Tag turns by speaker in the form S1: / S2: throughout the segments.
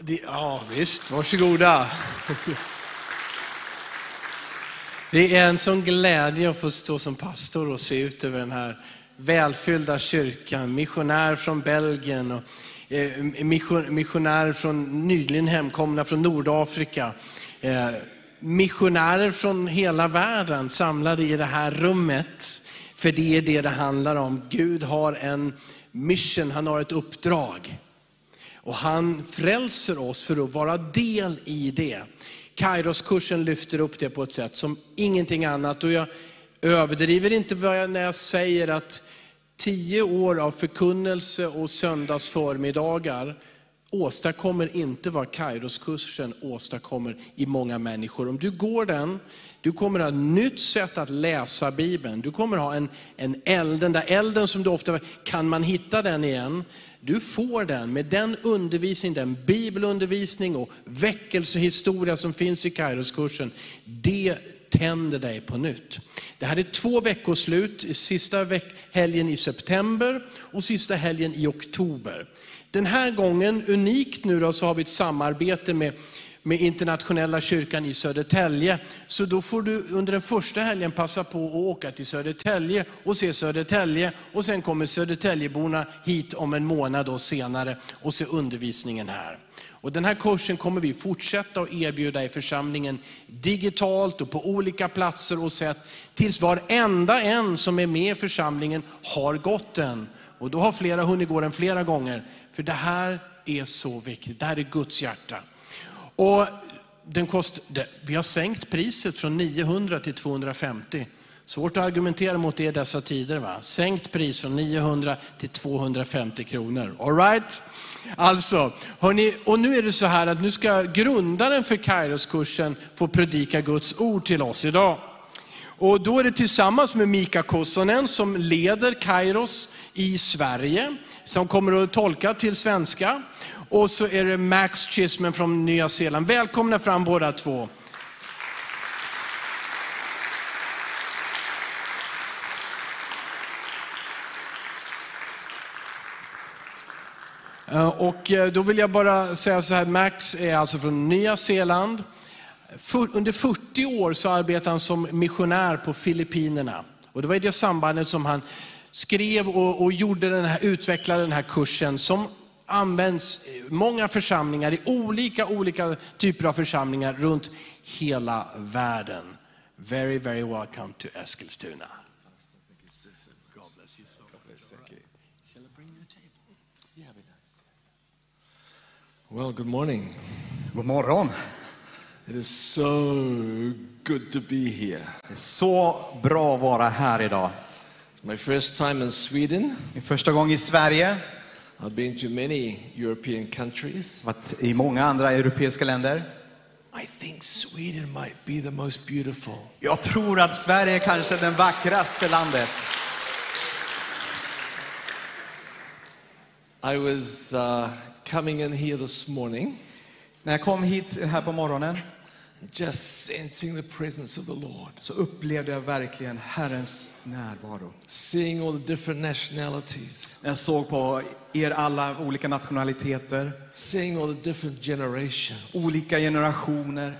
S1: Det, ja, visst. Varsågoda. Det är en sån glädje att få stå som pastor och se ut över den här välfyllda kyrkan. Missionär från Belgien, och eh, mission- missionärer från nyligen hemkomna från Nordafrika. Eh, Missionärer från hela världen samlade i det här rummet. För det är det det handlar om. Gud har en mission, han har ett uppdrag. Och han frälser oss för att vara del i det. Kairoskursen lyfter upp det på ett sätt som ingenting annat. Och jag överdriver inte vad jag- när jag säger att tio år av förkunnelse och söndagsförmiddagar åstadkommer inte vad Kairoskursen åstadkommer i många människor. Om du går den, du kommer ha ett nytt sätt att läsa Bibeln. Du kommer ha en, en eld, den där elden som du ofta, kan man hitta den igen? Du får den med den undervisning, den bibelundervisning och väckelsehistoria som finns i Kairoskursen. Det tänder dig på nytt. Det här är två veckoslut, sista veck- helgen i september och sista helgen i oktober. Den här gången, unikt nu då, så har vi ett samarbete med, med internationella kyrkan i Södertälje. Så då får du under den första helgen passa på att åka till Södertälje och se Södertälje. Och sen kommer Södertäljeborna hit om en månad då senare och se undervisningen här. Och den här kursen kommer vi fortsätta att erbjuda i församlingen digitalt och på olika platser och sätt tills varenda en som är med i församlingen har gått den. Och då har flera hunnit gå den flera gånger. För det här är så viktigt. Det här är Guds hjärta. Och den kost, det- vi har sänkt priset från 900 till 250. Svårt att argumentera mot det i dessa tider. Va? Sänkt pris från 900 till 250 kronor. All right? Alltså, hörni, och nu är det så här att nu ska grundaren för Kairoskursen få predika Guds ord till oss idag. Och då är det tillsammans med Mika Kossonen som leder Kairos i Sverige, som kommer att tolka till svenska. Och så är det Max Chisman från Nya Zeeland. Välkomna fram båda två. Eh, Och eh, då vill jag bara säga så här, Max är alltså från Nya Zeeland. För, under 40 år så arbetade han som missionär på Filippinerna. Och det var i det sambandet som han skrev och, och gjorde den här, utvecklade den här kursen som används i många församlingar, i olika, olika typer av församlingar runt hela världen. Very, very welcome to Eskilstuna.
S2: Well, good morning.
S3: God morgon.
S2: It is so good to be here.
S3: Det är så bra att vara här idag.
S2: It's my first time in Sweden.
S3: Min första gång i Sverige.
S2: I've been to many European countries.
S3: Varit i många andra europeiska länder.
S2: I think Sweden might be the most beautiful.
S3: Jag tror att Sverige är kanske den vackraste landet.
S2: I was uh, coming in here this morning,
S3: När jag kom hit här på morgonen
S2: just sensing the presence of the Lord,
S3: så upplevde jag verkligen Herrens närvaro.
S2: seeing all the different nationalities,
S3: När jag såg på er alla olika nationaliteter,
S2: seeing all the different generations.
S3: olika generationer.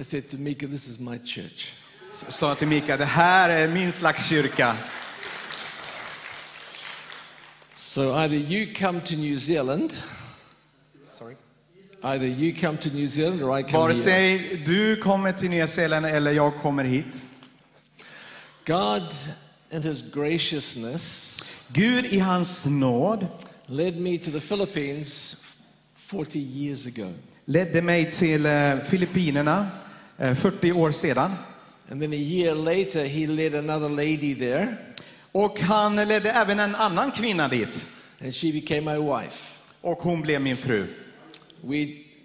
S2: I said to Mika, "This is my church."
S3: Så sa jag till Mika, det här är min slags kyrka.
S2: So either you come to New Zealand.
S3: Sorry.
S2: Either you come to New Zealand or I come
S3: Vare
S2: here.
S3: sig du kommer till Nya Zeeland eller jag kommer hit.
S2: God, in His graciousness,
S3: Gud i hans nåd
S2: led me to the Philippines 40 years ago.
S3: ledde mig till eh, Filippinerna eh, 40 år sedan.
S2: And then a year later, He led another lady there,
S3: Och han ledde även en annan kvinna dit.
S2: and she became my wife.
S3: Och hon blev min fru.
S2: We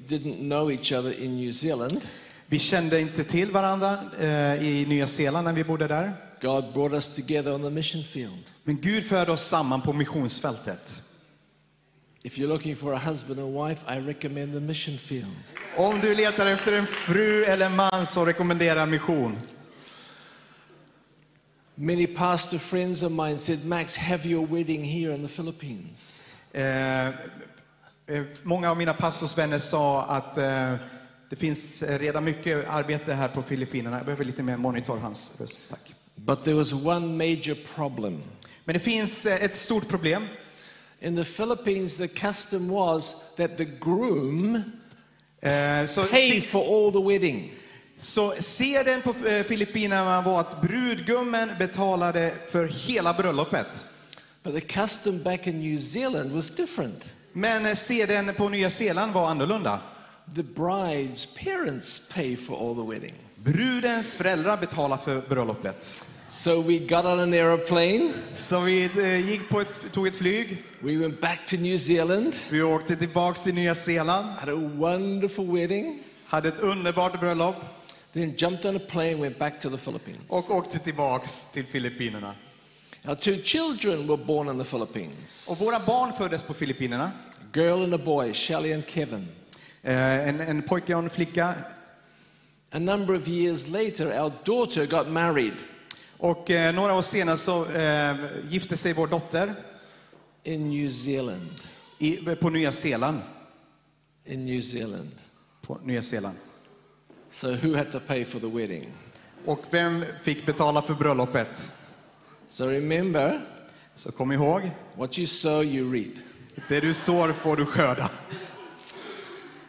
S2: didn't know each other in New Zealand.
S3: Vi kände inte till varandra eh, i Nya Zeeland när vi bodde där.
S2: God brought us together on the mission field.
S3: Men Gud förde oss samman på missionsfältet.
S2: If you're looking for a husband and wife, I recommend the mission field.
S3: Om du letar efter en fru eller en man så rekommenderar jag mission.
S2: Many pastor friends of mine said, Max, have your wedding here in the Philippines.
S3: Eh, Eh, Många av mina pastorsvänner sa att eh, det finns eh, redan mycket arbete här på Filippinerna. Jag behöver lite mer monitor, hans röst. Tack.
S2: But there was one major problem.
S3: Men det finns eh, ett stort problem.
S2: In the Philippines, the custom was that the groom
S3: Eh, Så,
S2: paid
S3: se,
S2: for all the wedding.
S3: så seden på eh, Filippinerna var att brudgummen betalade för hela bröllopet.
S2: But the custom back in New Zealand was different.
S3: Men eh, seden på Nya Zeeland var annorlunda.
S2: The bride's parents pay for all the wedding.
S3: Brudens föräldrar betalar för bröllopet.
S2: So we got on an aeroplane,
S3: Så vi eh, gick på ett, tog ett flyg.
S2: we went back to New Zealand,
S3: Vi åkte tillbaks till Nya Zeeland.
S2: had a wonderful wedding,
S3: Hade ett underbart bröllop.
S2: then jumped on a plane, went back to the Philippines.
S3: Och åkte tillbaks till Filippinerna.
S2: Our two children were born in the Philippines
S3: Och våra barn föddes på Filippinerna.
S2: a girl and a boy, Shelly and Kevin.
S3: Eh, en, en pojke och en flicka.
S2: A number of years later, our daughter got married
S3: Och eh, några år senare så eh, gifte sig vår dotter
S2: in New Zealand.
S3: i, på Nya Zeeland.
S2: In New Zealand.
S3: På Nya Zeeland.
S2: So who had to pay for the wedding?
S3: Och vem fick betala för bröllopet?
S2: So remember,
S3: Så kom ihåg,
S2: what you sow, you reap.
S3: det du sår får du skörda.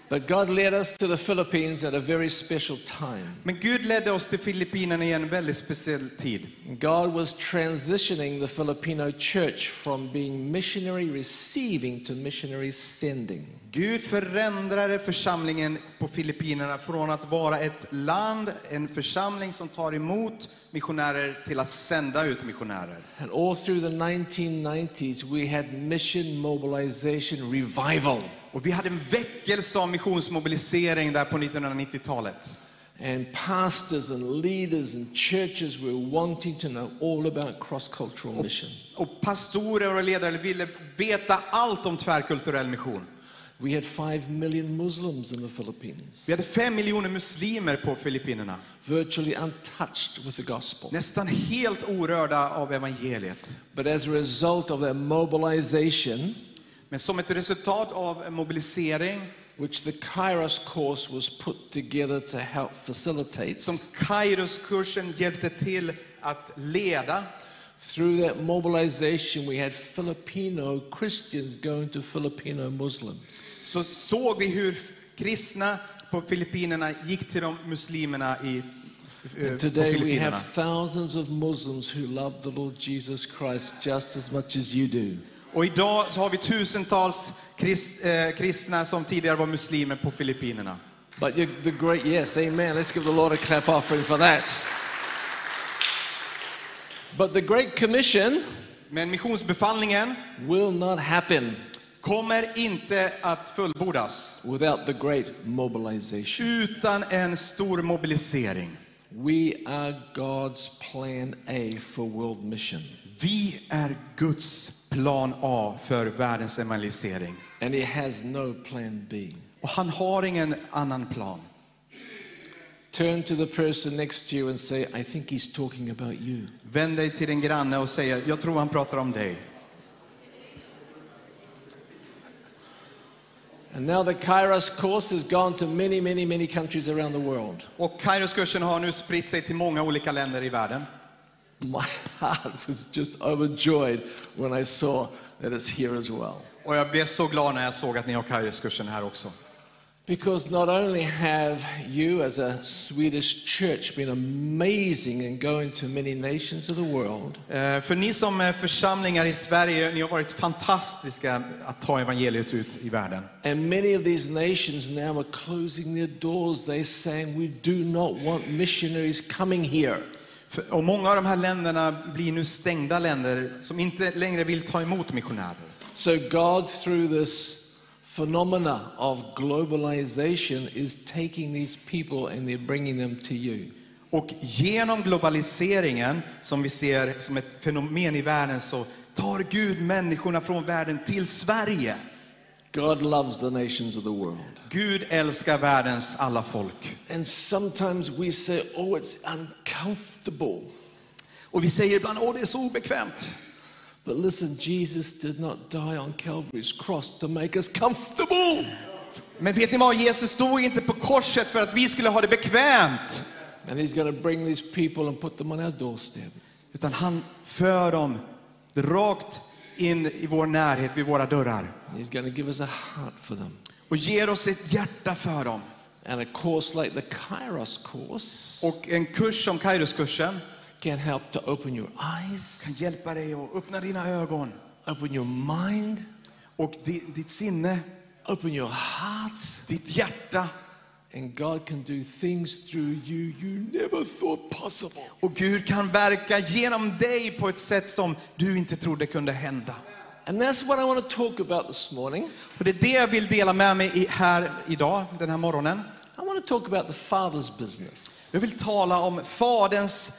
S2: But God led us to the Philippines at a very special time.
S3: Men Gud ledde oss till Filippinerna i en väldigt speciell tid.
S2: God was transitioning the Filipino church from being missionary receiving to missionary sending.
S3: Gud förändrade församlingen på Filippinerna från att vara ett land, en församling som tar emot missionärer till att sända ut missionärer.
S2: And all through the 1990s, we had mission mobilization revival.
S3: Och vi hade en väckelse av missionsmobilisering där på 1990-talet.
S2: And pastors and leaders and churches were wanting to know all about cross cultural mission.
S3: Och pastorer och ledare ville veta allt om tvärkulturell mission.
S2: We had 5 million Muslims in the Philippines,
S3: Vi hade fem miljoner muslimer på Filippinerna.
S2: virtually untouched with the gospel.
S3: Nästan helt orörda av evangeliet.
S2: But as a result of their mobilization,
S3: Men som ett resultat av en mobilisering
S2: which the Kairos course was put together to help facilitate,
S3: som Kairoskursen hjälpte till att leda.
S2: through that mobilization, we had Filipino Christians going to Filipino Muslims.
S3: Så såg vi hur kristna på Filippinerna gick till de muslimerna i, eh, på
S2: And today we
S3: Filippinerna.
S2: have thousands of Muslims who love the Lord Jesus Christ just as much as you do.
S3: Och idag så har vi tusentals krist, eh, kristna som tidigare var muslimer på Filippinerna.
S2: But you're the great, yes, amen. Let's give the Lord a clap offering for that. But the Great Commission
S3: Men missionsbefallningen
S2: will not happen
S3: kommer inte att fullbordas
S2: without the great mobilization.
S3: utan en stor mobilisering.
S2: We are God's plan A for world mission.
S3: Vi är Guds plan A för världens evangelisering.
S2: And He has no plan B.
S3: Och han har ingen annan plan.
S2: Turn to the person next to you and say, I think He's talking about you.
S3: Vänd dig till din granne och säg, jag tror han pratar om dig.
S2: And now the Kairos course has gone to many, many, many countries around the world.
S3: Och Kairoskursen har nu spritt sig till många olika länder i världen.
S2: My heart was just overjoyed when I saw that it's here as well.
S3: Och jag blev så glad när jag såg att ni har Kairoskursen här också.
S2: Because not only have you as a Swedish church been amazing in going to many nations of the world,
S3: Eh, För ni som är församlingar i Sverige, ni har varit fantastiska att ta evangeliet ut i världen.
S2: and many of these nations now are closing their doors. They're saying, We do not want missionaries coming here.
S3: För- Och många av de här länderna blir nu stängda länder som inte längre vill ta emot missionärer.
S2: So, God, through this phenomena of globalization, is taking these people and they're bringing them to you.
S3: Och genom globaliseringen, som vi ser som ett fenomen i världen, så tar Gud människorna från världen till Sverige.
S2: God loves the nations of the world.
S3: Gud älskar världens alla folk.
S2: And sometimes we say, oh, it's uncomfortable.
S3: Och vi säger ibland, åh det är så obekvämt.
S2: But listen, Jesus did not die on Calvary's cross to make us comfortable.
S3: Men vet ni vad? Jesus stod inte på korset för att vi skulle ha det bekvämt.
S2: And he's going to bring these people and put them on our doorstep.
S3: Utan han för dem rakt in i vår närhet, vid våra dörrar.
S2: And he's going to give us a heart for them.
S3: Och ger oss ett hjärta för dem.
S2: And a course like the Kairos course
S3: Och en kurs som Kairoskursen
S2: can help to open your eyes,
S3: kan hjälpa dig att öppna dina ögon.
S2: open your mind,
S3: Och di- ditt sinne,
S2: open your heart.
S3: ditt hjärta.
S2: And God can do things through you you never thought possible.
S3: Och Gud kan verka genom dig på ett sätt som du inte trodde kunde hända.
S2: And that's what I want to talk about this morning.
S3: Och det är det jag vill dela med mig i, här idag, den här morgonen.
S2: I want to talk about the Father's business.
S3: Jag vill tala om Faderns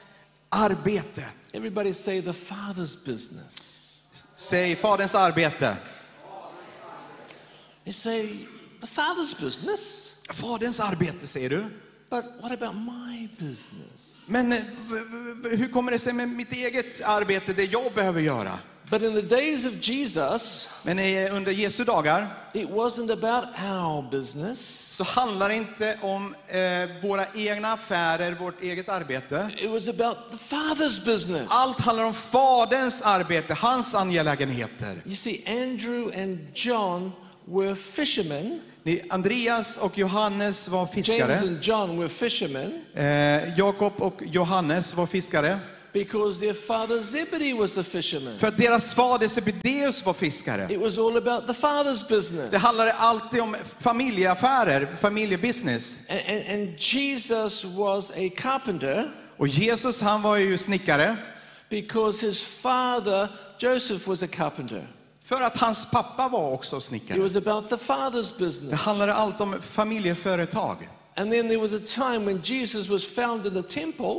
S3: arbete.
S2: Everybody say the Father's business.
S3: Säg Faderns arbete.
S2: You say the Father's business,
S3: Faderns arbete, säger du.
S2: but what about my business?
S3: Men eh, v- v- hur kommer det sig med mitt eget arbete, det jag behöver göra?
S2: But in the days of Jesus,
S3: Men eh, under Jesu dagar
S2: it wasn't about our business.
S3: så handlar det inte om eh, våra egna affärer, vårt eget arbete.
S2: It was about the Father's business.
S3: Allt handlar om Faderns arbete, hans angelägenheter.
S2: You see, Andrew and John were fishermen.
S3: Ni, Andreas och Johannes var fiskare.
S2: James and John were fishermen
S3: Eh, Jakob och Johannes var fiskare.
S2: because their father Zebedee was a fisherman.
S3: För att deras fader Sebedeus var fiskare.
S2: It was all about the Father's business.
S3: Det handlade alltid om familjeaffärer, familjebusiness.
S2: And, and, and Jesus was a carpenter
S3: Och Jesus han var ju snickare.
S2: because his father, Joseph, was a carpenter.
S3: För att hans pappa var också
S2: It
S3: snickare.
S2: was about the Father's
S3: Det
S2: business.
S3: handlade allt om familjeföretag.
S2: And then there was a time when Jesus was found in the temple,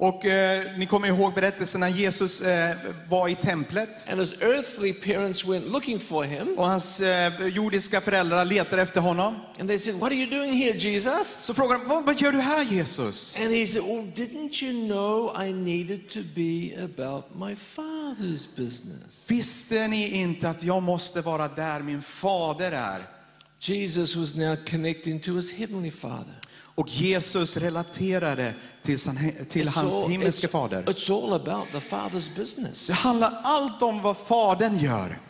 S3: Och eh, ni kommer ihåg berättelsen när Jesus eh, var i templet.
S2: and his earthly parents went looking for him,
S3: Och hans eh, jordiska föräldrar letade efter honom.
S2: and they said, What are you doing here, Jesus?
S3: Så frågade de, vad, vad gör du här Jesus?
S2: And he said, Well, didn't you know I needed to be about my Father's business?
S3: Visste ni inte att jag måste vara där min fader är?
S2: Jesus was now connecting to his heavenly Father.
S3: Och Jesus relaterade till, san, till
S2: It's
S3: hans
S2: all-
S3: himmelske
S2: it's-
S3: fader.
S2: It's all about the Father's business.
S3: Det handlar allt om vad Fadern gör.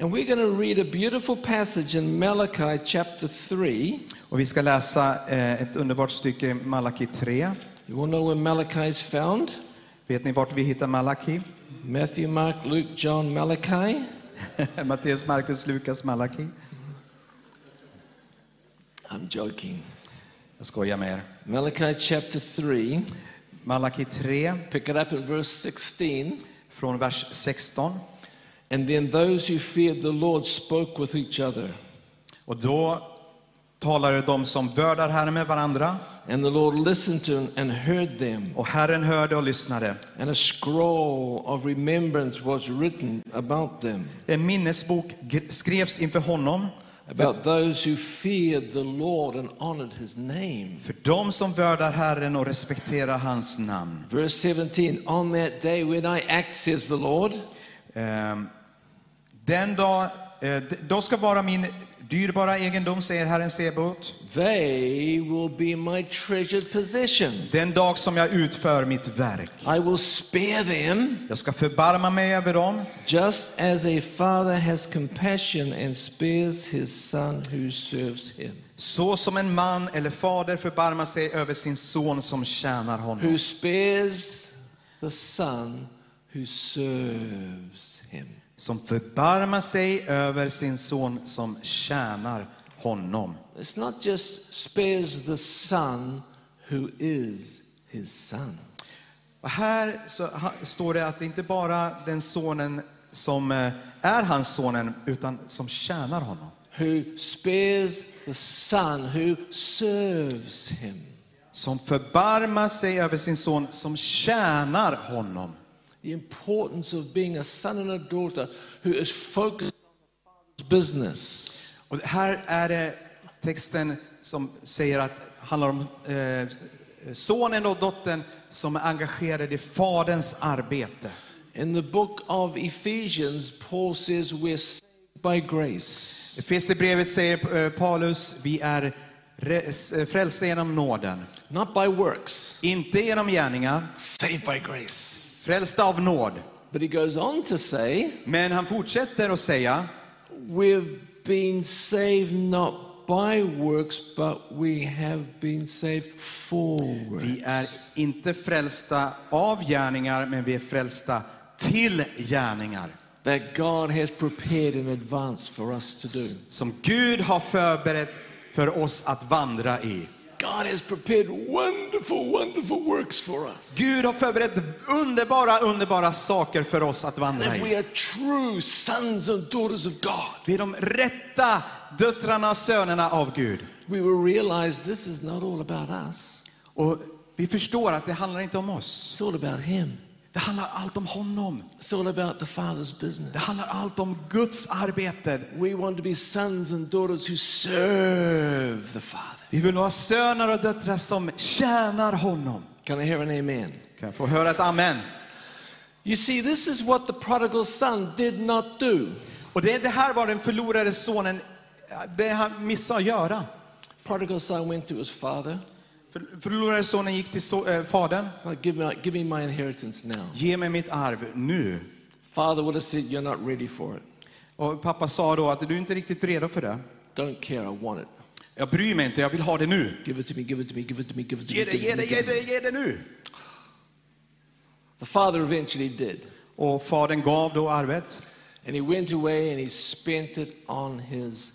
S2: And we're going to read a beautiful passage in Malachi chapter 3.
S3: Och vi ska läsa eh, ett underbart stycke i Malaki 3.
S2: You all know where Malachi is found?
S3: Vet ni vart vi hittar Malaki?
S2: Matthew, Mark, Luke, John, Malachi.
S3: Matteus, Markus, Lukas, Malaki.
S2: I'm joking.
S3: Jag skojar med er.
S2: Malachi chapter 3.
S3: Malaki 3
S2: Pick it up in verse 16.
S3: från vers 16.
S2: And then those who feared the Lord spoke with each other.
S3: Och då talade de som vördar Herren med varandra.
S2: And the Lord listened to and heard them.
S3: Och Herren hörde och lyssnade.
S2: And a scroll of remembrance was written about them,
S3: En minnesbok gr- skrevs inför honom
S2: about those who feared the Lord and honored his name.
S3: för de som vördar Herren och respekterar hans namn.
S2: Verse 17 On that day when I act, says the Lord,
S3: Ehm, Den dag, eh, d- då ska vara min dyrbara egendom, säger Herren Sebot.
S2: they will be my treasured possession.
S3: Den dag som jag utför mitt verk.
S2: I will spare them,
S3: Jag ska förbarma mig över dem,
S2: just as a father has compassion and spares his son who serves him.
S3: så som en man eller fader förbarmar sig över sin son som tjänar honom.
S2: Who spares the son who serves him.
S3: Som förbarmar sig över sin son som tjänar honom.
S2: It's not just spares the son who is his son.
S3: Och här så, ha, står det att det inte bara den sonen som eh, är hans sonen, utan som tjänar honom.
S2: Who spares the son who serves him.
S3: som förbarmar sig över sin son, som tjänar honom.
S2: The importance of being a son and a daughter who is focused on the father's business.
S3: Och här är det texten som säger att handlar om eh, sonen och dottern som är engagerade i faderns arbete.
S2: In the book of Ephesians, Paul says we're saved by grace.
S3: Efesierbrevet säger eh, Paulus, vi är re- frälsta genom nåden.
S2: Not by works,
S3: Inte genom gärningar,
S2: saved by grace.
S3: frälsta av nåd.
S2: But he goes on to say,
S3: Men han fortsätter att säga,
S2: we've been saved not by works, but we have been saved for
S3: vi
S2: works.
S3: är inte frälsta av gärningar, men vi är frälsta till gärningar.
S2: That God has prepared in advance for us to do.
S3: Som Gud har förberett för oss att vandra i.
S2: God has prepared wonderful, wonderful works for us.
S3: Gud har förberett underbara, underbara saker för oss att vandra
S2: If
S3: i.
S2: we are true sons and daughters of God,
S3: Vi är de rätta döttrarna och sönerna av Gud.
S2: we will realize this is not all about us,
S3: Och vi förstår att det handlar inte om oss.
S2: it's all about Him.
S3: Det handlar allt om honom.
S2: It's all about the Father's business.
S3: Det handlar allt om Guds arbete.
S2: We want to be sons and daughters who serve the Father.
S3: Vi vill ha söner och döttrar som tjänar honom.
S2: Can I hear an amen?
S3: Kan jag få höra ett amen?
S2: You see, this is what the prodigal son did not do.
S3: Och det, det här var den förlorade sonen, det han missade att göra.
S2: Prodigal son went to his father,
S3: För, förlorade sonen gick till so, eh, fadern.
S2: like, give, me, give me my inheritance now.
S3: Ge mig mitt arv nu.
S2: Father would have said, You're not ready for it.
S3: Och pappa sa då att du är inte riktigt redo för det.
S2: Don't care, I want it.
S3: Jag bryr mig inte, jag vill ha det nu.
S2: Give it to me, give it to me, give it to me, give it to me.
S3: Ge det,
S2: give
S3: ge
S2: it to
S3: det,
S2: me,
S3: ge
S2: give it to
S3: det,
S2: me.
S3: ge det nu.
S2: The father eventually did.
S3: Och fadern gav då arvet.
S2: And he went away and he spent it on his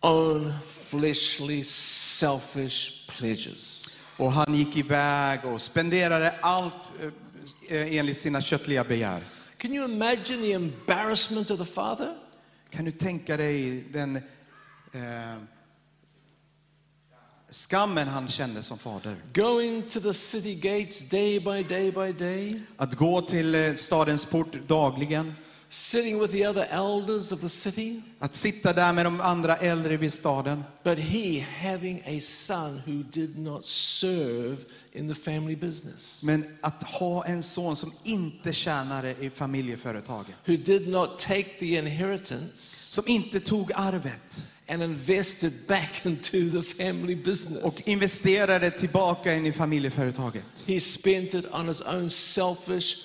S2: own fleshly, selfish pleasures.
S3: Och han gick iväg och spenderade allt eh, enligt sina köttliga begär.
S2: Can you imagine the embarrassment of the father?
S3: Kan du tänka dig den eh, skammen han kände som fader?
S2: Going to the city gates day by day by day,
S3: Att gå till eh, stadens port dagligen,
S2: sitting with the other elders of the city,
S3: att sitta där med de andra äldre vid staden.
S2: but he having a son who did not serve in the family business,
S3: Men att ha en son som inte tjänade i familjeföretaget.
S2: who did not take the inheritance
S3: Som inte tog arvet
S2: and invest it back into the family business.
S3: och investerade tillbaka in i familjeföretaget.
S2: He spent it on his own selfish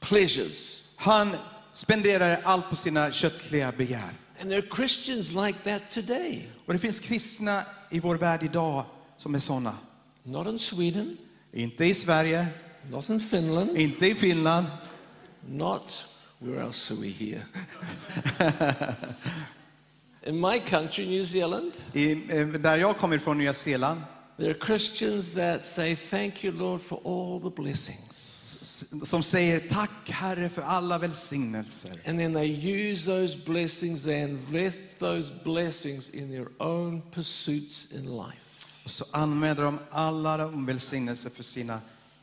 S2: pleasures.
S3: Han spenderade allt på sina kötsliga begär.
S2: And there are Christians like that today.
S3: Och det finns kristna i vår värld idag som är sådana.
S2: Not in Sweden,
S3: Inte i Sverige,
S2: not in Finland,
S3: Inte i Finland.
S2: not where else are we here? in my country, New Zealand,
S3: I, eh, där jag kommer ifrån, Nya Zeeland,
S2: there are Christians that say, Thank you, Lord, for all the blessings.
S3: s- som säger tack Herre för alla välsignelser.
S2: And then they use those blessings, they invest those blessings in their own pursuits in life.
S3: Och så använder de alla de välsignelser för sina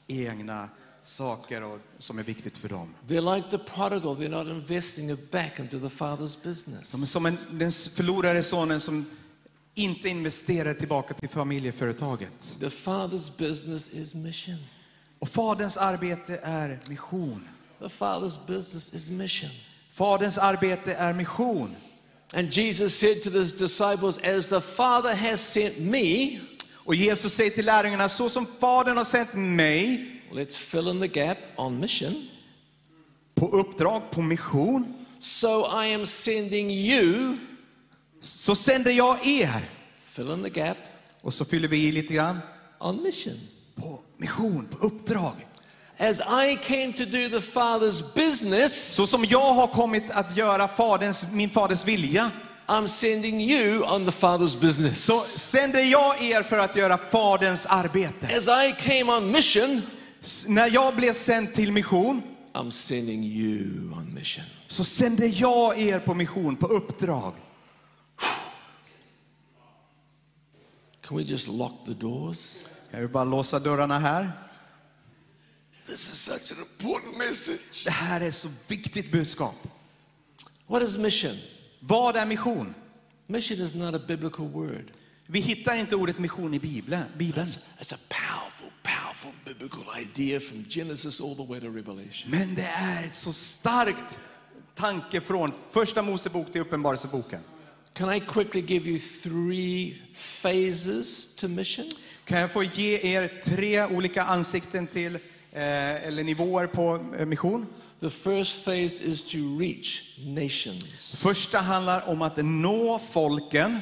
S3: egna saker och, som är viktigt för dem.
S2: They're like the prodigal, they're not investing it back into the father's business.
S3: De är som en, den s- förlorade sonen som inte investerar tillbaka till familjeföretaget.
S2: The father's business is mission.
S3: Och faderns arbete är mission.
S2: The father's business is mission.
S3: Faderns arbete är mission.
S2: And Jesus said to his disciples, As the Father has sent me,
S3: Och Jesus säger till lärjungarna, så som fadern har sänt mig
S2: let's fill in the gap on mission.
S3: på uppdrag, på mission,
S2: So I am sending you,
S3: så sänder jag er.
S2: fill in the gap
S3: Och så fyller vi i lite grann.
S2: on mission.
S3: På mission, på uppdrag.
S2: As I came to do the Father's business,
S3: Så som jag har kommit att göra faderns, min faders vilja,
S2: I'm sending you on the Father's business.
S3: så sänder jag er för att göra faderns arbete.
S2: As I came on mission,
S3: S- när jag blev sänd till mission,
S2: I'm sending you on mission.
S3: så sände jag er på mission, på uppdrag.
S2: Can we just lock the doors?
S3: Jag vill bara låsa dörrarna här.
S2: This is such an important message.
S3: Det här är så viktigt budskap.
S2: What is mission?
S3: Vad är mission?
S2: Mission is not a biblical word.
S3: Vi hittar inte ordet mission i Bibeln. Bibeln.
S2: That's, that's a powerful, powerful biblical idea from Genesis all the way to Revelation.
S3: Men det är ett så starkt tanke från första Mosebok till Uppenbarelseboken.
S2: Can I quickly give you three phases to mission?
S3: Kan jag få ge er tre olika ansikten till, eh, eller nivåer på eh, mission?
S2: The first phase is to reach nations.
S3: Första handlar om att nå folken.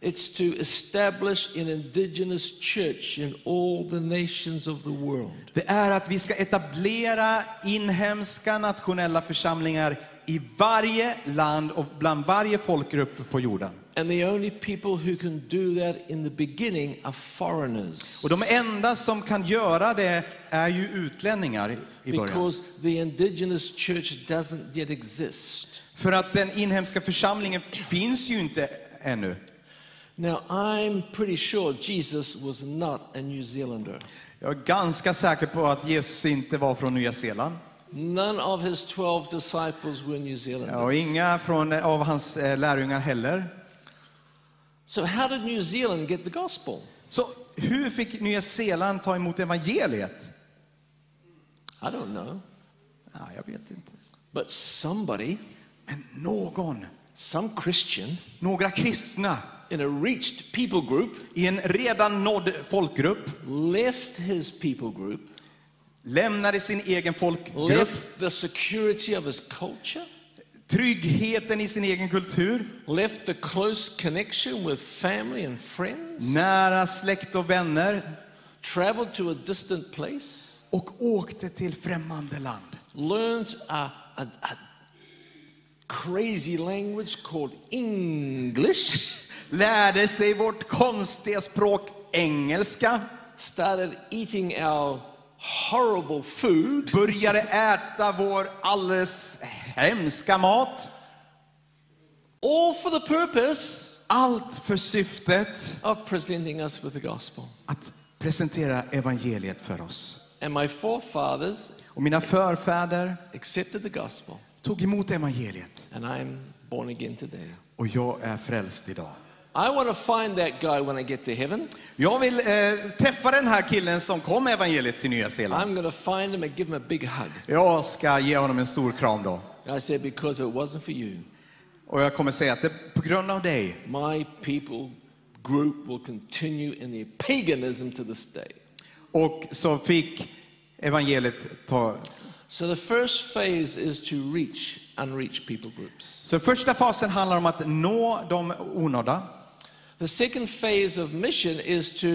S2: It's to establish an indigenous church in all the nations of the world.
S3: Det är att vi ska etablera inhemska nationella församlingar i varje land och bland varje folkgrupp på jorden.
S2: And the only people who can do that in the beginning are foreigners.
S3: Och de enda som kan göra det är ju utlänningar i början.
S2: Because the indigenous church doesn't yet exist.
S3: För att den inhemska församlingen finns ju inte ännu.
S2: Now, I'm pretty sure Jesus was not a New Zealander.
S3: Jag är ganska säker på att Jesus inte var från Nya Zeeland.
S2: None of his 12 disciples were New
S3: Ja, Och
S2: Zealanders.
S3: inga från, av hans eh, lärjungar heller.
S2: So, how did New Zealand get the gospel?
S3: Så hur fick Nya Zeeland ta emot evangeliet?
S2: I don't know.
S3: Ja, jag vet inte.
S2: But somebody,
S3: Men någon,
S2: some Christian,
S3: några kristna
S2: in a reached people group
S3: i en redan nådd folkgrupp
S2: left his people group,
S3: lämnade sin egen folkgrupp,
S2: left the security of his culture,
S3: tryggheten i sin egen kultur,
S2: left the close connection with family and friends,
S3: nära släkt och vänner
S2: traveled to a distant place,
S3: och åkte till främmande land.
S2: learned a, a, a crazy language called English,
S3: Lärde sig vårt konstiga språk engelska,
S2: started eating our horrible food,
S3: började äta vår alldeles hemska mat.
S2: all for the purpose
S3: Allt för syftet
S2: of presenting us with the gospel.
S3: att presentera evangeliet för oss.
S2: And my forefathers
S3: Och mina förfäder
S2: accepted the gospel,
S3: tog emot evangeliet
S2: and I'm born again today.
S3: och jag är frälst idag.
S2: I want to find that guy when I get to heaven.
S3: Jag vill eh, träffa den här killen som kom med evangeliet till Nya Zeeland.
S2: I'm going to find him and give him a big hug.
S3: Jag ska ge honom en stor kram då.
S2: I said, because it wasn't for you,
S3: Och jag kommer säga att det, på grund av dig
S2: my people group will continue in their paganism to this day.
S3: och så fick evangeliet ta...
S2: So the first phase is to reach unreached people groups.
S3: Så första fasen handlar om att nå de onådda.
S2: The second phase of mission is to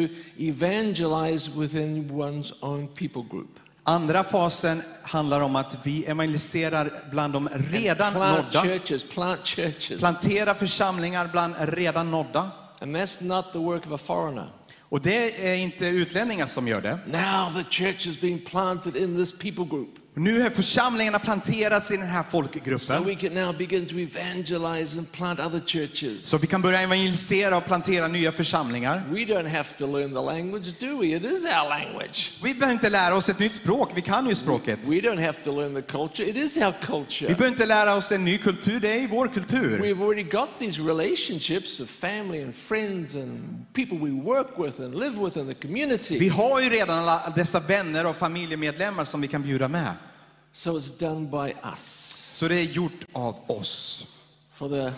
S2: evangelize within one's own people group.
S3: Andra fasen handlar om att vi evangeliserar bland de redan
S2: Plant
S3: nådda.
S2: churches, plant churches.
S3: Plantera församlingar bland redan nådda.
S2: And that's not the work of a foreigner.
S3: Och det är inte utlänningar som gör det.
S2: Now the church is being planted in this people group.
S3: Nu har församlingarna planterats i den här
S2: So
S3: folkgruppen.
S2: we can now begin to evangelize and plant other churches.
S3: Så vi kan börja evangelisera och plantera nya församlingar.
S2: We don't have to learn the language, do we? It is our language.
S3: Vi behöver inte lära oss ett nytt språk, vi kan ju språket.
S2: We don't have to learn the culture. It is our
S3: Vi
S2: culture.
S3: behöver inte lära oss en ny kultur, det är vår kultur.
S2: We've already got these relationships of family and friends and people we work with and live with in the
S3: Vi
S2: community.
S3: har ju redan alla dessa vänner och familjemedlemmar som vi kan bjuda med.
S2: So it's done by us.
S3: Så det är gjort av oss.
S2: For the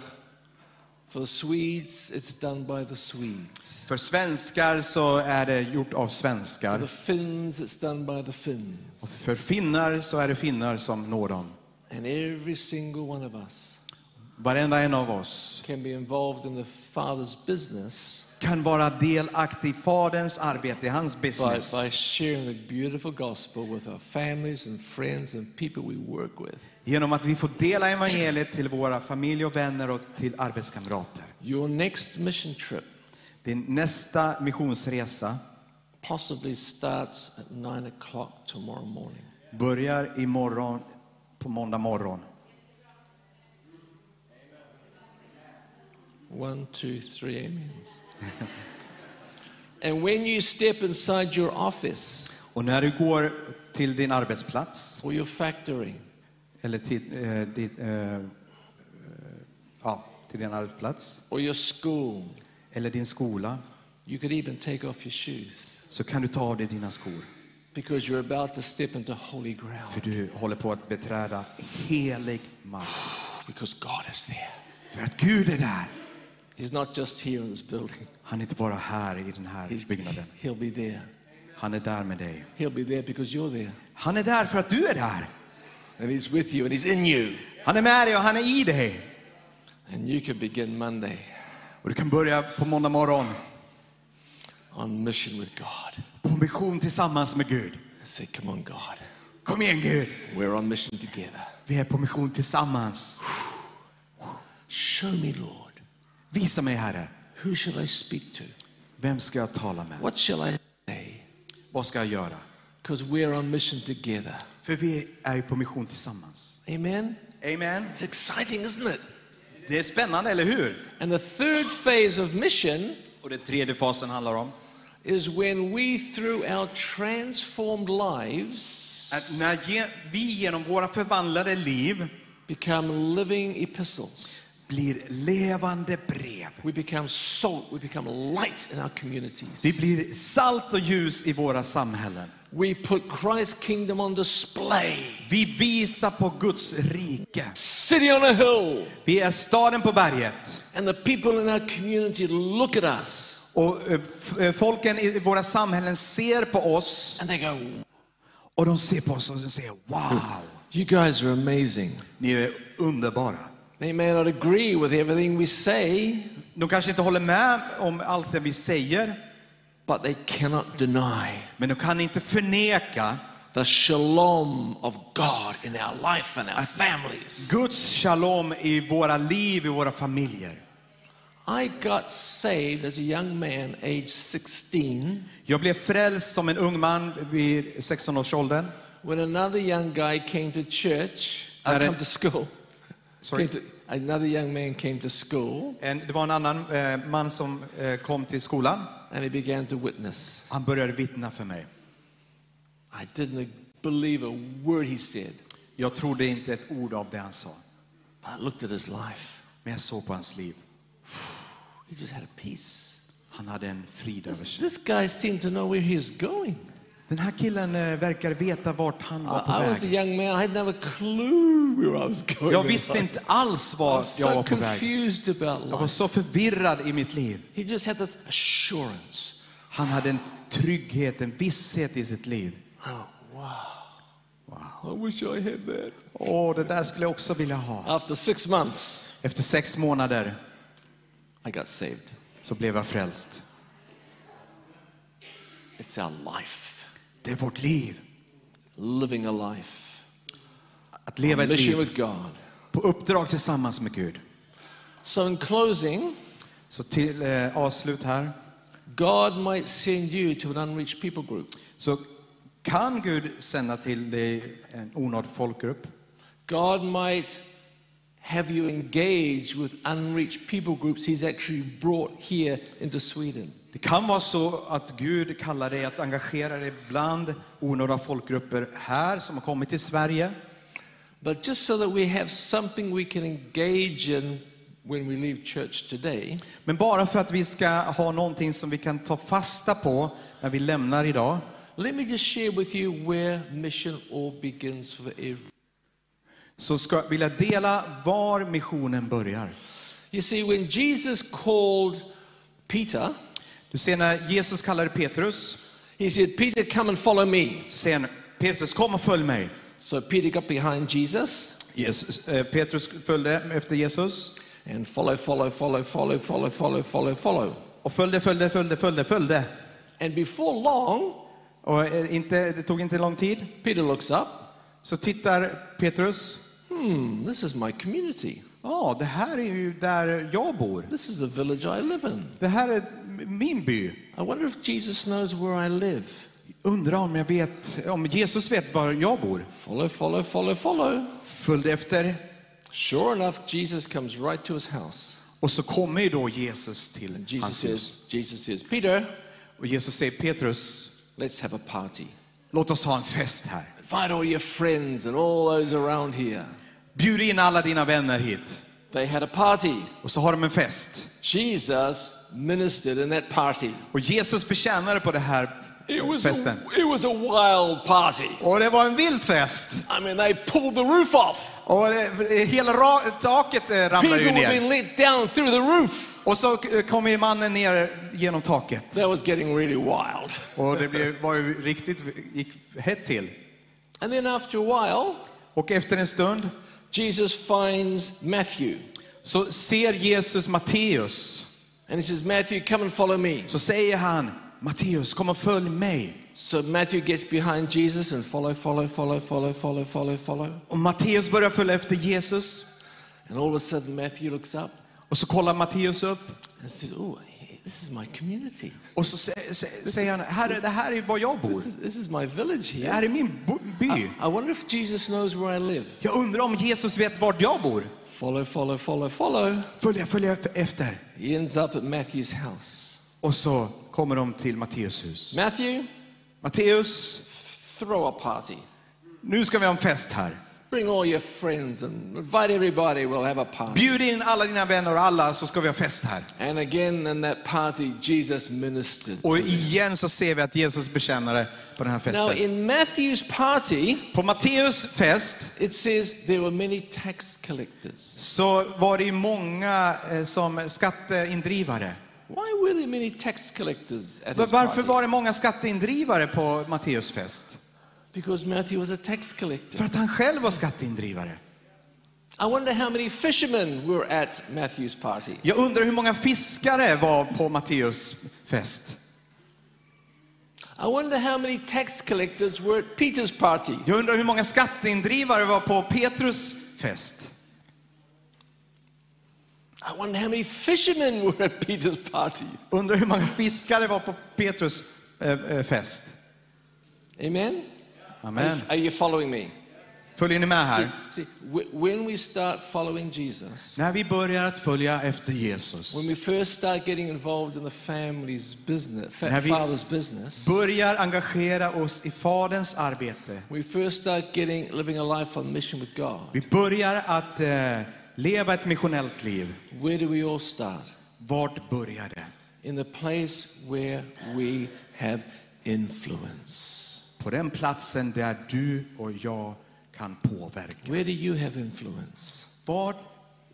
S2: for the Swedes, it's done by the Swedes.
S3: För svenskar så är det gjort av
S2: For the
S3: svenskar.
S2: Finns, it's done by the Finns.
S3: Och för finnar så är det finnar som når dem.
S2: And every single one of us
S3: Varenda en av oss
S2: can be involved in the Father's business
S3: kan vara delaktig i Faderns arbete, i hans
S2: by,
S3: business.
S2: by sharing the beautiful gospel with our families and friends and people we work with.
S3: Genom att vi får dela evangeliet till våra familj och vänner och till arbetskamrater.
S2: Your next mission trip
S3: Din nästa missionsresa
S2: possibly starts at 9 o'clock tomorrow morning.
S3: börjar imorgon på måndag morgon.
S2: One, two, three amens. and when you step inside your office
S3: Och när du går till din arbetsplats
S2: or your factory,
S3: eller till, eh, dit, eh, eh, ja, till din arbetsplats
S2: or your school,
S3: eller din skola
S2: You could even take off your shoes
S3: så kan du ta av dig dina skor.
S2: because you're about to step into holy
S3: För
S2: ground
S3: du håller på att beträda helig mark.
S2: because God is there.
S3: För att Gud är där.
S2: He's not just here in this building.
S3: Han är inte bara här i den här
S2: He's,
S3: byggnaden.
S2: he'll be there.
S3: Han är där med dig.
S2: He'll be there because you're there.
S3: Han är där för att du är där.
S2: And he's with you and he's in you.
S3: Han är med dig och han är i dig.
S2: And you can begin Monday
S3: Och du kan börja på måndag morgon
S2: on mission with God.
S3: på mission tillsammans med Gud.
S2: Say, come on, God.
S3: Kom igen Gud,
S2: We're on mission together.
S3: vi är på mission tillsammans.
S2: Show me, Lord.
S3: Visa mig Herre,
S2: Who shall I speak to?
S3: vem ska jag tala med?
S2: What shall I say?
S3: Vad ska jag göra?
S2: Because we're on mission together.
S3: För vi är ju på mission tillsammans.
S2: Amen?
S3: Amen.
S2: It's exciting, isn't it?
S3: Det är spännande, eller hur?
S2: And the third phase of mission
S3: Och den tredje fasen handlar om
S2: is when we, through our transformed lives,
S3: att när ge, vi genom våra förvandlade liv
S2: become living epistles.
S3: blir levande brev.
S2: We become salt. We become light in our communities.
S3: Vi blir salt och ljus i våra samhällen.
S2: We put Christ's kingdom on display.
S3: Vi visar på Guds rike.
S2: City on a hill.
S3: Vi är staden på berget.
S2: And the people in our community look at us
S3: Och eh, f- eh, folken i våra samhällen ser på oss
S2: and they go,
S3: och de ser på oss och de säger wow,
S2: You guys are amazing.
S3: ni är underbara.
S2: They may not agree with everything we say,
S3: De kanske inte håller med om allt det vi säger,
S2: but they cannot deny
S3: men de kan inte förneka
S2: the shalom of God in our life and our families.
S3: Guds shalom i våra liv, i våra familjer.
S2: I got saved as a young man, age 16,
S3: Jag blev frälst som en ung man vid 16-årsåldern.
S2: when another young guy came to church. I
S3: Got it.
S2: come to school.
S3: Sorry.
S2: Came to- another young man came to school
S3: En- Det var en annan eh, man som eh, kom till skolan.
S2: and he began to witness.
S3: Han började vittna för mig.
S2: I didn't believe a word he said,
S3: Jag trodde inte ett ord av det han sa,
S2: but I looked at his life.
S3: men jag såg på hans liv.
S2: He just had a peace.
S3: Han hade en frid över
S2: This,
S3: sig.
S2: this guy seemed to know where he was going.
S3: Den här killen eh, verkar veta vart han var på
S2: Ah, I, I was a
S3: väg.
S2: young man. I had never clue where I was going.
S3: Jag
S2: in
S3: visste
S2: life.
S3: inte alls
S2: I
S3: vart
S2: was
S3: jag
S2: so
S3: var på väg.
S2: confused about
S3: Jag var
S2: life.
S3: så förvirrad i mitt liv.
S2: He just had this assurance.
S3: Han hade en trygghet, en visshet i sitt liv.
S2: Oh, wow. Wow. I wish I had that.
S3: Åh, det där skulle jag också vilja ha.
S2: After six months,
S3: Efter sex månader
S2: I got saved.
S3: så blev jag frälst.
S2: It's our life.
S3: Det är vårt liv.
S2: Living a life.
S3: Att leva ett
S2: Mission
S3: liv
S2: with God.
S3: på uppdrag tillsammans med Gud.
S2: So, in closing,
S3: Så till eh, avslut här.
S2: God might send you to an unreached people group.
S3: Så kan Gud sända till dig en onådd folkgrupp?
S2: God might have you engage with unreached people groups He's actually brought here into Sweden.
S3: Det kan vara så att Gud kallar dig att engagera dig bland onådda folkgrupper här som har kommit till Sverige.
S2: But just so that we have something we can engage in when we leave church today,
S3: Men bara för att vi ska ha någonting som vi kan ta fasta på när vi lämnar idag
S2: let me just share with you where mission all begins for every.
S3: så ska, vill jag dela var missionen börjar.
S2: You see, when Jesus called Peter,
S3: Du ser när Jesus kallade Petrus
S2: he said, Peter, come and follow me.
S3: så säger han Petrus kom och följ mig.
S2: So Peter got behind Jesus
S3: Jesus, eh, Petrus följde efter Jesus
S2: and follow, follow, follow, follow, follow, follow, follow, follow.
S3: och följde, följde, följde, följde, följde.
S2: And before long,
S3: Och eh, inte, det tog inte lång tid.
S2: Peter looks up.
S3: Så tittar Petrus
S2: Hmm, this is my community.
S3: Ja, det här är ju där jag bor.
S2: This is the village I live in.
S3: Det här är m- min by.
S2: I wonder if Jesus knows where I live.
S3: Undrar om jag vet, om Jesus vet var jag bor.
S2: Follow, follow, follow, follow.
S3: Följde efter
S2: Sure enough, Jesus comes right to his house.
S3: och så kommer ju då Jesus till
S2: And Jesus
S3: hans hus.
S2: says, Jesus says, Peter,
S3: Och Jesus säger Petrus,
S2: let's have a party.
S3: låt oss ha en fest här.
S2: Invite all your friends and all those around here.
S3: Bjud in alla dina vänner hit.
S2: They had a party.
S3: Och så har de en fest.
S2: Jesus ministered in that party.
S3: Och Jesus betjänade på det här
S2: It was,
S3: festen.
S2: a, it was a wild party.
S3: Och det var en vild fest.
S2: I mean, they pulled the roof off.
S3: Och det, hela ra- taket eh,
S2: People
S3: ramlade ju
S2: were
S3: ner.
S2: being let down through the roof.
S3: Och så eh, kom ju mannen ner genom taket.
S2: That was getting really wild.
S3: Och det blev, var ju riktigt, gick hett till.
S2: And then after a while,
S3: Och efter en stund
S2: Jesus finds Matthew
S3: så ser Jesus Matteus.
S2: and he says, Matthew, come and follow me.
S3: Så säger han, Matteus kom och följ mig.
S2: So Matthew gets behind Jesus and follow, follow, follow, follow, follow, follow, follow.
S3: Och Matteus börjar följa efter Jesus.
S2: And all of a sudden, Matthew looks up
S3: Och så kollar Matteus upp.
S2: and says, Oh, hey, this is my community.
S3: Och så sä- sä- säger han, Herre, det här är var jag bor.
S2: This is, this is my village
S3: Det
S2: here.
S3: här är min bo- by.
S2: I wonder if Jesus knows where I live.
S3: Jag undrar om Jesus vet vart jag bor.
S2: Follow, follow, follow, follow.
S3: Följa, följa efter.
S2: He ends up at Matthew's house.
S3: Och så kommer de till Matteus hus.
S2: Matthew,
S3: Matteus,
S2: throw a party.
S3: nu ska vi ha en fest här.
S2: Bring all your friends and invite everybody. We'll have a party.
S3: Bjud in alla dina vänner och alla så ska vi ha fest här.
S2: And again, in that party, Jesus ministered.
S3: Och igen så ser vi att Jesus bekännare på den här
S2: Now,
S3: festen.
S2: in Matthew's party,
S3: På Matteus fest
S2: it says there were many tax collectors.
S3: så var det ju många eh, som skatteindrivare.
S2: Why were there many tax collectors at
S3: Va-
S2: his
S3: Varför
S2: party?
S3: var det många skatteindrivare på Matteus fest?
S2: Because Matthew was a tax collector.
S3: För att han själv var skatteindrivare.
S2: I wonder how many fishermen were at Matthew's party.
S3: Jag undrar hur många fiskare var på Matteus fest?
S2: I wonder how many tax collectors were at Peter's party.
S3: Jag undrar hur många skatteindrivare var på Petrus fest?
S2: I wonder how many fishermen were at Peter's party.
S3: Undrar hur många fiskare var på Petrus eh, eh, fest?
S2: Amen?
S3: Amen.
S2: Are you following me?
S3: Följer ni med här?
S2: See, wh- when we start following Jesus,
S3: När vi börjar att följa efter Jesus,
S2: when we first start getting involved in the family's business, fa-
S3: Have you-
S2: father's business,
S3: börjar engagera oss i Faderns arbete,
S2: we first start getting living a life on mission with God.
S3: vi börjar att eh, leva ett missionellt liv.
S2: Where do we all start?
S3: Vart börjar det?
S2: In the place where we have influence.
S3: På den platsen där du och jag kan påverka.
S2: Where do you have influence?
S3: Vad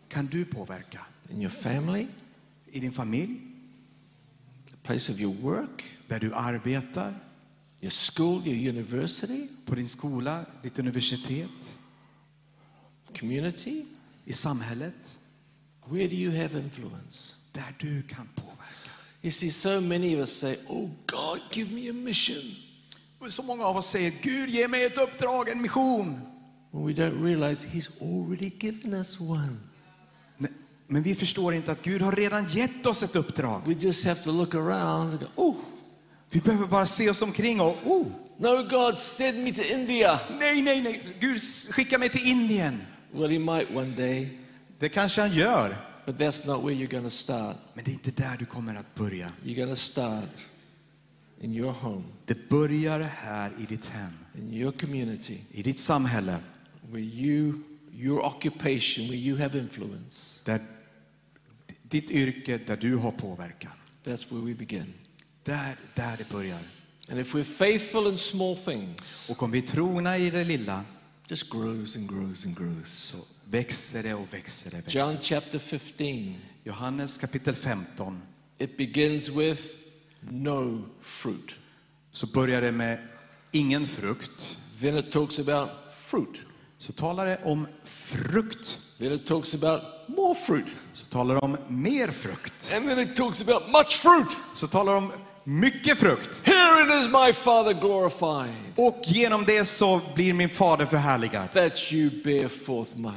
S3: kan du påverka?
S2: In your family,
S3: I din familj,
S2: the place of your work,
S3: där du arbetar,
S2: your school, your university,
S3: på din skola, ditt universitet,
S2: community?
S3: i samhället,
S2: Where do you have influence?
S3: där du kan påverka.
S2: You see, so many of us say, Oh God, give me a mission.
S3: Och Så många av oss säger, Gud ge mig ett uppdrag, en mission.
S2: When we don't realize He's already given us one.
S3: Men- Men vi förstår inte att Gud har redan gett oss ett uppdrag.
S2: We just have to look around and go, Oh,
S3: Vi behöver bara se oss omkring och, oh,
S2: no, God send me to India.
S3: nej, nej, nej, Gud s- skicka mig till Indien.
S2: Well, He might one day,
S3: Det kanske han gör,
S2: but that's not where you're going to start.
S3: men det är inte där du kommer att börja.
S2: You're going to start in your home,
S3: Det börjar här i ditt hem,
S2: in your community,
S3: i ditt samhälle,
S2: where you, your occupation, where you have influence.
S3: där ditt yrke, där du har påverkan.
S2: That's where we begin.
S3: Där, där det börjar.
S2: And if we're faithful in small things,
S3: Och om vi är trogna i det lilla
S2: just grows and grows and grows.
S3: så växer det och växer det. Växer.
S2: John chapter 15,
S3: Johannes kapitel 15
S2: it begins with no fruit.
S3: så börjar det med ingen frukt.
S2: Then it talks about fruit.
S3: Så talar det om frukt.
S2: Then it talks about more fruit.
S3: Så talar det om mer frukt.
S2: And then it talks about much fruit.
S3: Så talar det om mycket frukt.
S2: Herein is my Father glorified,
S3: Och genom det så blir min fader förhärligad.
S2: that you bear forth much,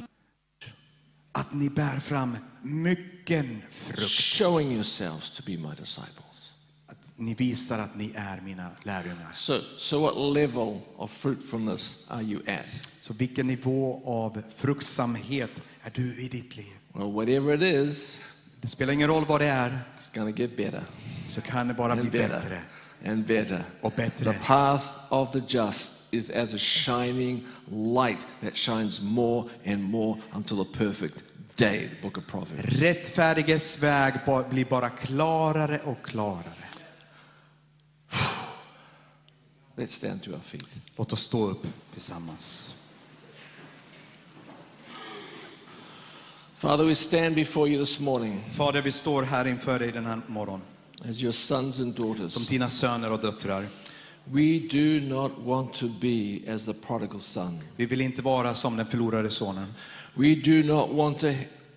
S3: Att ni bär fram mycken frukt.
S2: showing yourselves to be my disciples.
S3: Att ni visar att ni är mina lärjungar.
S2: So, so what level of fruitfulness are you at?
S3: Så vilken nivå av fruktsamhet är du i ditt liv?
S2: Well, whatever it is,
S3: Det spelar ingen roll vad det är,
S2: it's going to get better.
S3: så kan det bara bli
S2: and
S3: bättre.
S2: better and better.
S3: Och bättre.
S2: The path of the just is as a shining light that shines more and more until the perfect day, the book of Proverbs.
S3: Rättfärdiges väg ba- blir bara klarare och klarare.
S2: Let's stand to our feet.
S3: Låt oss stå upp tillsammans.
S2: Father, we stand before you this morning
S3: Fader, vi står här inför dig den här morgonen,
S2: as your sons and
S3: som
S2: daughters.
S3: dina söner och döttrar.
S2: We do not want to be as the prodigal son.
S3: Vi vill inte vara som den förlorade sonen.
S2: We do not want to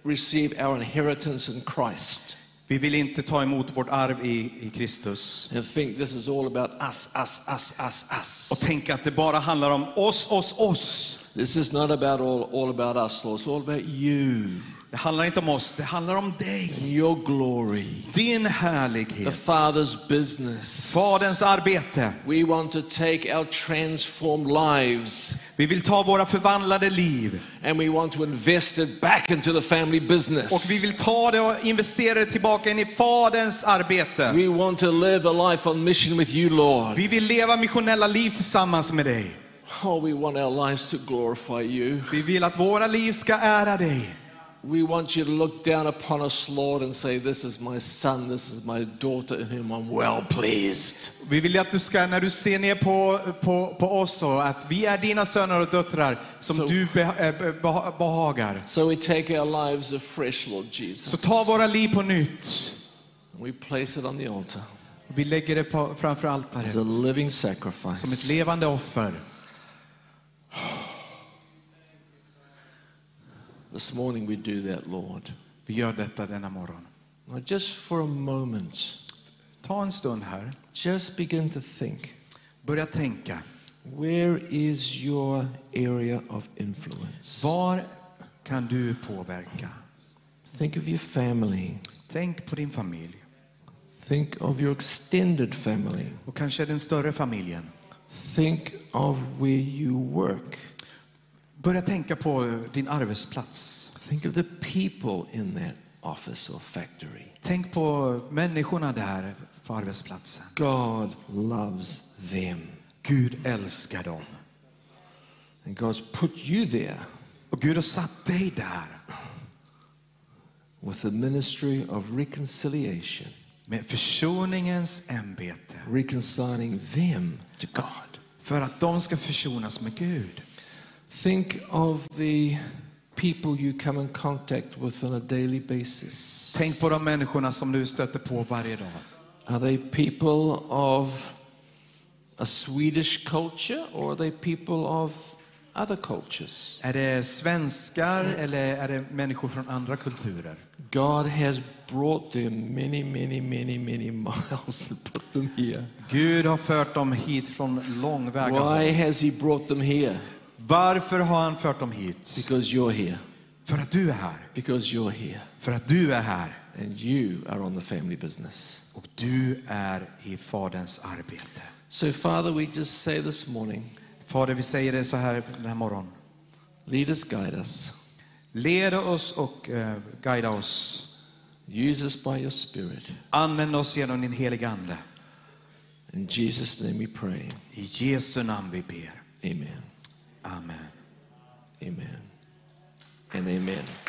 S2: receive our inheritance in Christ
S3: Vi vill inte ta emot vårt arv i, i Kristus
S2: and think this is all about us, us, us, us, us.
S3: och tänka att det bara handlar om oss, oss, oss.
S2: This is not about all, all about us, Lord. It's all about you
S3: Det handlar inte om oss, det handlar om dig.
S2: and your glory,
S3: Din
S2: the
S3: härlighet.
S2: Father's business.
S3: Faderns arbete.
S2: We want to take our transformed lives
S3: Vi vill ta våra förvandlade liv
S2: and we want to invest it back into the family
S3: och vi
S2: business.
S3: vill ta det och investera det tillbaka in i Faderns arbete.
S2: We want to live a life on mission with you, Lord.
S3: Vi vill leva missionella liv tillsammans med dig.
S2: Oh, we want our lives to glorify you.
S3: Vi vill att våra liv ska ära dig.
S2: We want you to look down upon us, Lord, and say, This is my son, this is my daughter, in whom I'm well pleased.
S3: Vi vill att du ska, när du ser ner på, på, på oss, så att vi är dina söner och döttrar som
S2: Så-
S3: du be, eh, be, beha- behagar.
S2: So we take our lives afresh, Lord Jesus.
S3: Så ta våra liv på nytt.
S2: We place it on the altar
S3: Vi lägger det på, framför altaret
S2: as a living
S3: som ett
S2: sacrifice.
S3: levande offer.
S2: This morning we do that, Lord.
S3: Vi gör detta denna morgon.
S2: Now, just for a moment,
S3: Ta en stund här.
S2: just begin to think
S3: Börja tänka.
S2: where is your area of influence?
S3: Var kan du påverka?
S2: Think of your family,
S3: Tänk på din familj
S2: think of your extended family,
S3: och kanske den större familjen.
S2: think of where you work.
S3: Börja tänka på din arbetsplats.
S2: Think of the people in that office or factory.
S3: Tänk på människorna där på arbetsplatsen.
S2: God loves them.
S3: Gud älskar dem.
S2: And God's put you there
S3: Och Gud har satt dig där
S2: with the ministry of reconciliation,
S3: med försoningens ämbete
S2: reconciling them to God.
S3: för att de ska försonas med Gud.
S2: Think of the people you come in contact with on a daily basis.
S3: Tänk på de människorna som du stöter på varje dag.
S2: Are they people of a Swedish culture or are they people of other cultures?
S3: Är det svenskar eller är det människor från andra kulturer?
S2: God has brought them many, many, many, many miles and put them here.
S3: Gud har fört dem hit från långväga
S2: Why
S3: håll.
S2: has He brought them here?
S3: Varför har han fört dem hit?
S2: Because you're here.
S3: För att du är här.
S2: Because you're here.
S3: För att du är här.
S2: And you are on the family business.
S3: Och du är i Faderns arbete.
S2: So, Father, we just say this morning
S3: Fader, vi säger det så här den här morgonen.
S2: lead us, guide us,
S3: Led oss och eh, guida oss.
S2: use us by your Spirit.
S3: Använd oss genom din heliga Ande.
S2: In Jesus' name we pray.
S3: I Jesu namn vi ber.
S2: Amen.
S3: Amen.
S2: Amen. And amen.